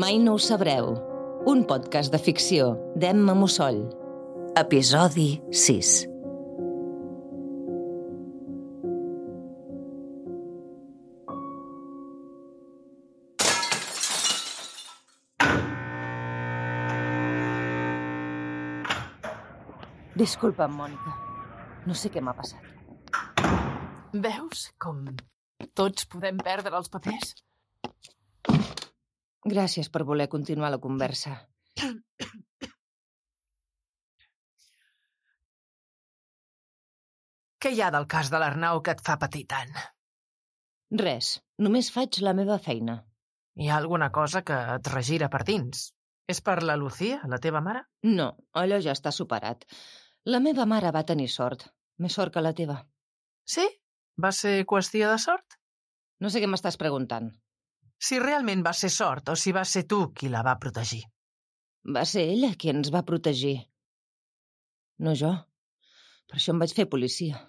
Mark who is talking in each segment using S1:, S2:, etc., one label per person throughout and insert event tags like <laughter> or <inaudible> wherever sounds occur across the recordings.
S1: Mai no ho sabreu. Un podcast de ficció d'Emma Mussoll. Episodi 6. Disculpa'm, Mònica. No sé què m'ha passat.
S2: Veus com tots podem perdre els papers?
S1: Gràcies per voler continuar la conversa.
S2: Què hi ha del cas de l'Arnau que et fa patir tant?
S1: Res, només faig la meva feina.
S2: Hi ha alguna cosa que et regira per dins? És per la Lucía, la teva mare?
S1: No, allò ja està superat. La meva mare va tenir sort. Més sort que la teva.
S2: Sí? Va ser qüestió de sort?
S1: No sé què m'estàs preguntant.
S2: Si realment va ser sort o si va ser tu qui la va protegir.
S1: Va ser ella qui ens va protegir. No jo. Per això em vaig fer policia.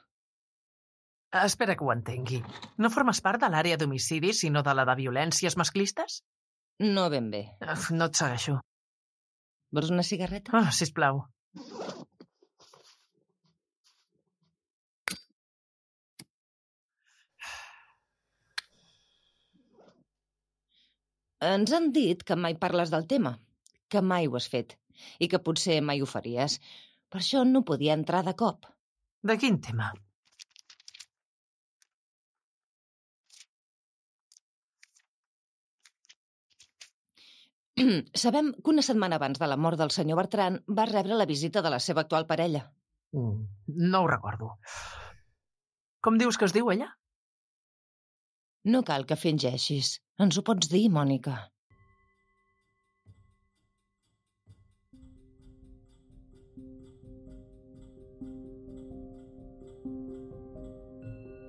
S2: Espera que ho entengui. No formes part de l'àrea d'homicidi, sinó de la de violències masclistes?
S1: No ben bé.
S2: Uf, No et segueixo.
S1: Vols una cigarreta?
S2: Oh, sisplau.
S1: Ens han dit que mai parles del tema, que mai ho has fet i que potser mai ho faries. Per això no podia entrar de cop. <clears throat>
S2: De quin tema?
S1: Sabem que una setmana abans de la mort del senyor Bertran va rebre la visita de la seva actual parella.
S2: Mm, No ho recordo. Com dius que es diu ella?
S1: No cal que fingeixis. Ens ho pots dir, Mònica.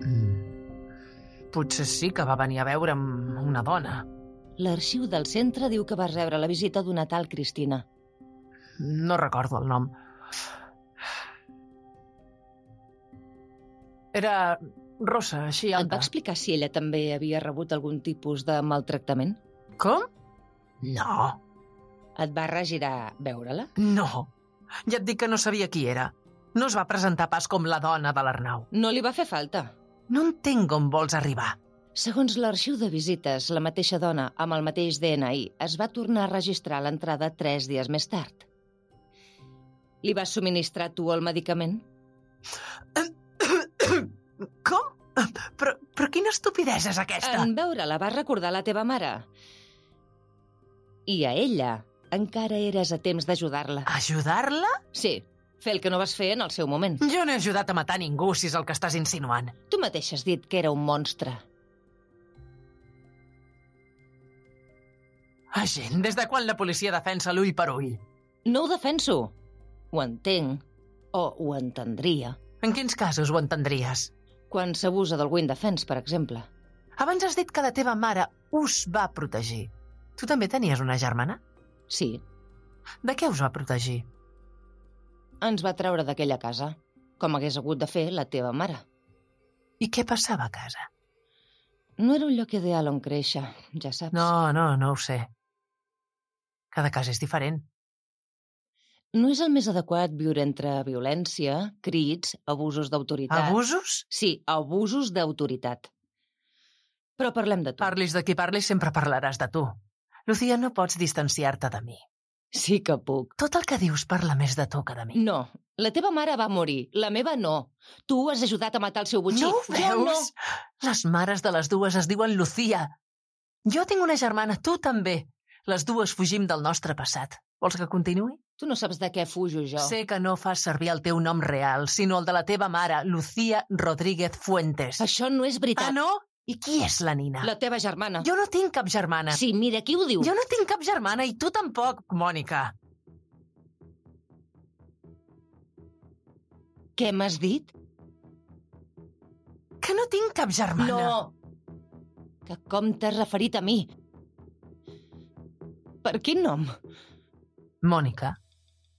S2: Mm. Potser sí que va venir a veure'm una dona.
S1: L'arxiu del centre diu que va rebre la visita d'una tal Cristina.
S2: No recordo el nom. Era rossa, així
S1: Et va
S2: alta.
S1: explicar si ella també havia rebut algun tipus de maltractament?
S2: Com? No,
S1: Et va regirar a veure-la?
S2: no. Ja et dic que no sabia qui era. No es va presentar pas com la dona de l'Arnau.
S1: No li va fer falta.
S2: No entenc on vols arribar.
S1: Segons l'arxiu de visites, la mateixa dona, amb el mateix DNI, es va tornar a registrar a l'entrada tres dies més tard. Li vas subministrar tu el medicament?
S2: Com? Però, però quina estupidesa és aquesta?
S1: En veure-la va recordar la teva mare. I a ella encara eres a temps d'ajudar-la.
S2: Ajudar-la?
S1: Sí, fer el que no vas fer en el seu moment.
S2: Jo no he ajudat a matar ningú, si és el que estàs insinuant.
S1: Tu mateix has dit que era un monstre.
S2: Ah, gent, des de quan la policia defensa l'ull per ull?
S1: No ho defenso. Ho entenc, o ho entendria,
S2: En quins casos ho entendries?
S1: quan s'abusa d'algú indefens, per exemple.
S2: Abans has dit que la teva mare us va protegir. Tu també tenies una germana?
S1: Sí,
S2: De què us va protegir?
S1: ens va treure d'aquella casa, com hagués hagut de fer la teva mare.
S2: I què passava a casa?
S1: No era un lloc ideal on créixer, ja saps.
S2: No, no, no ho sé. Cada cas és diferent.
S1: no és el més adequat viure entre violència, crits, abusos d'autoritat...
S2: Abusos?
S1: Sí, abusos d'autoritat. Però parlem de tu.
S2: Parlis de qui parlis, sempre parlaràs de tu. Lucía, no pots distanciar-te de mi.
S1: Sí que puc.
S2: Tot el que dius parla més de tu que de mi.
S1: No, la teva mare va morir, la meva no. Tu has ajudat a matar el seu botxí.
S2: no ho
S1: Jo no.
S2: veus? Les mares de les dues es diuen Lucía. Jo tinc una germana, tu també. Les dues fugim del nostre passat. Vols que continuï?
S1: Tu no saps de què fujo jo.
S2: Sé que no fas servir el teu nom real, sinó el de la teva mare, Lucía Rodríguez Fuentes.
S1: Això no és
S2: Ah,
S1: veritat.
S2: no? I qui és la Nina?
S1: La teva germana.
S2: Jo no tinc cap germana.
S1: Sí, mira, qui ho diu?
S2: Jo no tinc cap germana i tu tampoc, Mònica.
S1: Què m'has dit?
S2: Que no tinc cap germana.
S1: No. Que com t'has referit a mi? Per quin nom?
S2: Mònica,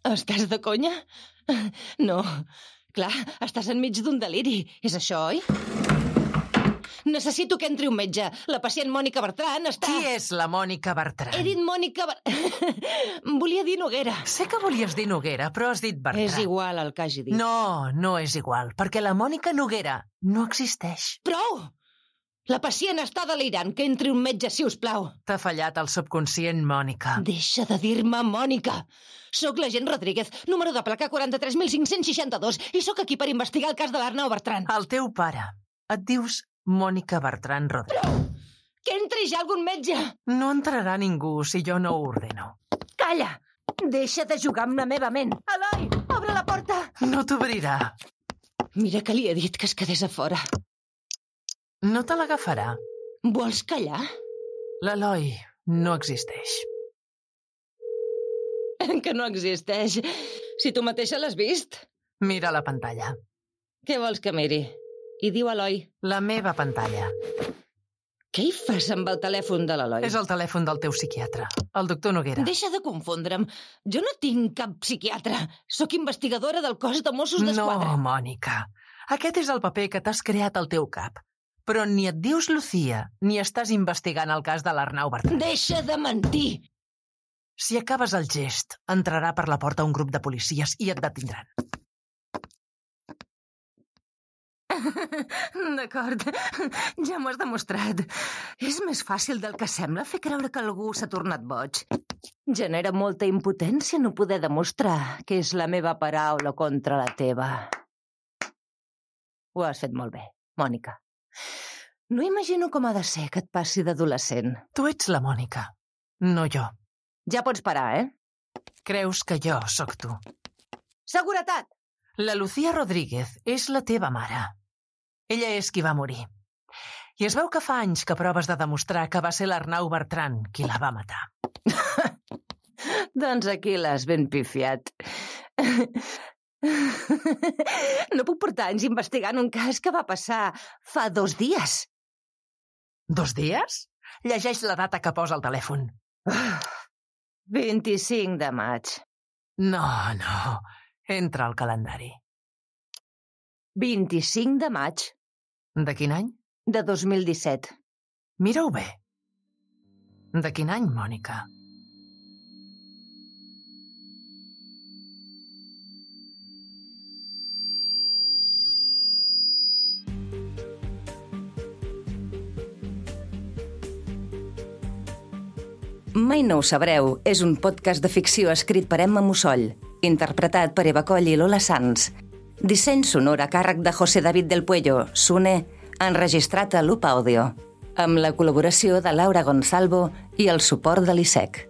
S1: Estàs de conya? <laughs> No. Clar, estàs enmig d'un deliri. És això, oi? Necessito que entri un metge. La pacient Mònica Bertran està...
S2: Qui és la Mònica Bertran?
S1: He dit Mònica... Ber- <laughs> Volia dir Noguera.
S2: Sé que volies dir Noguera, però has dit Bertran.
S1: És igual el que hagi dit.
S2: No, no és igual, perquè la Mònica Noguera no existeix.
S1: Prou! La pacient està delirant. Que entri un metge, si us plau.
S2: T'ha fallat el subconscient, Mònica.
S1: Deixa de dir-me Mònica. Sóc l'agent Rodríguez, número de placa 43.562, i sóc aquí per investigar el cas de l'Arnau Bertran.
S2: El teu pare. Et dius Mònica Bertran Rodríguez.
S1: Que entri ja algun metge!
S2: No entrarà ningú si jo no ho ordeno.
S1: Calla! Deixa de jugar amb la meva ment. Eloi, obre la porta!
S2: No t'obrirà.
S1: Mira que li he dit que es quedés a fora.
S2: No te l'agafarà.
S1: Vols callar? <laughs>
S2: L'Eloi no existeix.
S1: Que no existeix. Si tu mateixa l'has vist,
S2: Mira la pantalla.
S1: què vols que miri? I diu Eloi.
S2: La meva pantalla.
S1: Què hi fas amb el telèfon de l'Eloi?
S2: És el telèfon del teu psiquiatre, el doctor Noguera.
S1: Deixa de confondre'm. Jo no tinc cap psiquiatre. Sóc investigadora del cos de Mossos
S2: No,
S1: d'Esquadra.
S2: Mònica. Aquest és el paper que t'has creat al teu cap. Però ni et dius Lucía, ni estàs investigant el cas de l'Arnau Bertran.
S1: Deixa de mentir!
S2: Si acabes el gest, entrarà per la porta un grup de policies i et detindran.
S3: D'acord,
S1: <laughs>
S3: ja m'ho has demostrat. És més fàcil del que sembla fer creure que algú s'ha tornat boig.
S1: Genera molta impotència no poder demostrar que és la meva paraula contra la teva. Ho has fet molt bé, Mònica. No imagino com ha de ser que et passi d'adolescent.
S2: Tu ets la Mònica, no jo.
S1: Ja pots parar, eh?
S2: Creus que jo sóc tu.
S1: Seguretat!
S2: La Lucía Rodríguez és la teva mare. Ella és qui va morir. I es veu que fa anys que proves de demostrar que va ser l'Arnau Bertran qui la va matar.
S1: Doncs aquí l'has ben pifiat. No puc portar anys investigant un cas que va passar fa dos dies.
S2: Dos dies? Llegeix la data que posa el telèfon.
S1: 25 de maig.
S2: No, no. Entra al calendari.
S1: 25 de maig
S2: De quin any?
S1: de 2017.
S2: Mira-ho bé. De quin any, Mònica?
S3: Mai no ho sabreu és un podcast de ficció escrit per Emma Mussoll, interpretat per Eva Coll i Lola Sanz. Disseny sonor a càrrec de José David del Puello, Sune, enregistrat a Loop Audio, amb la col·laboració de Laura Gonzalvo i el suport de l'ISEC.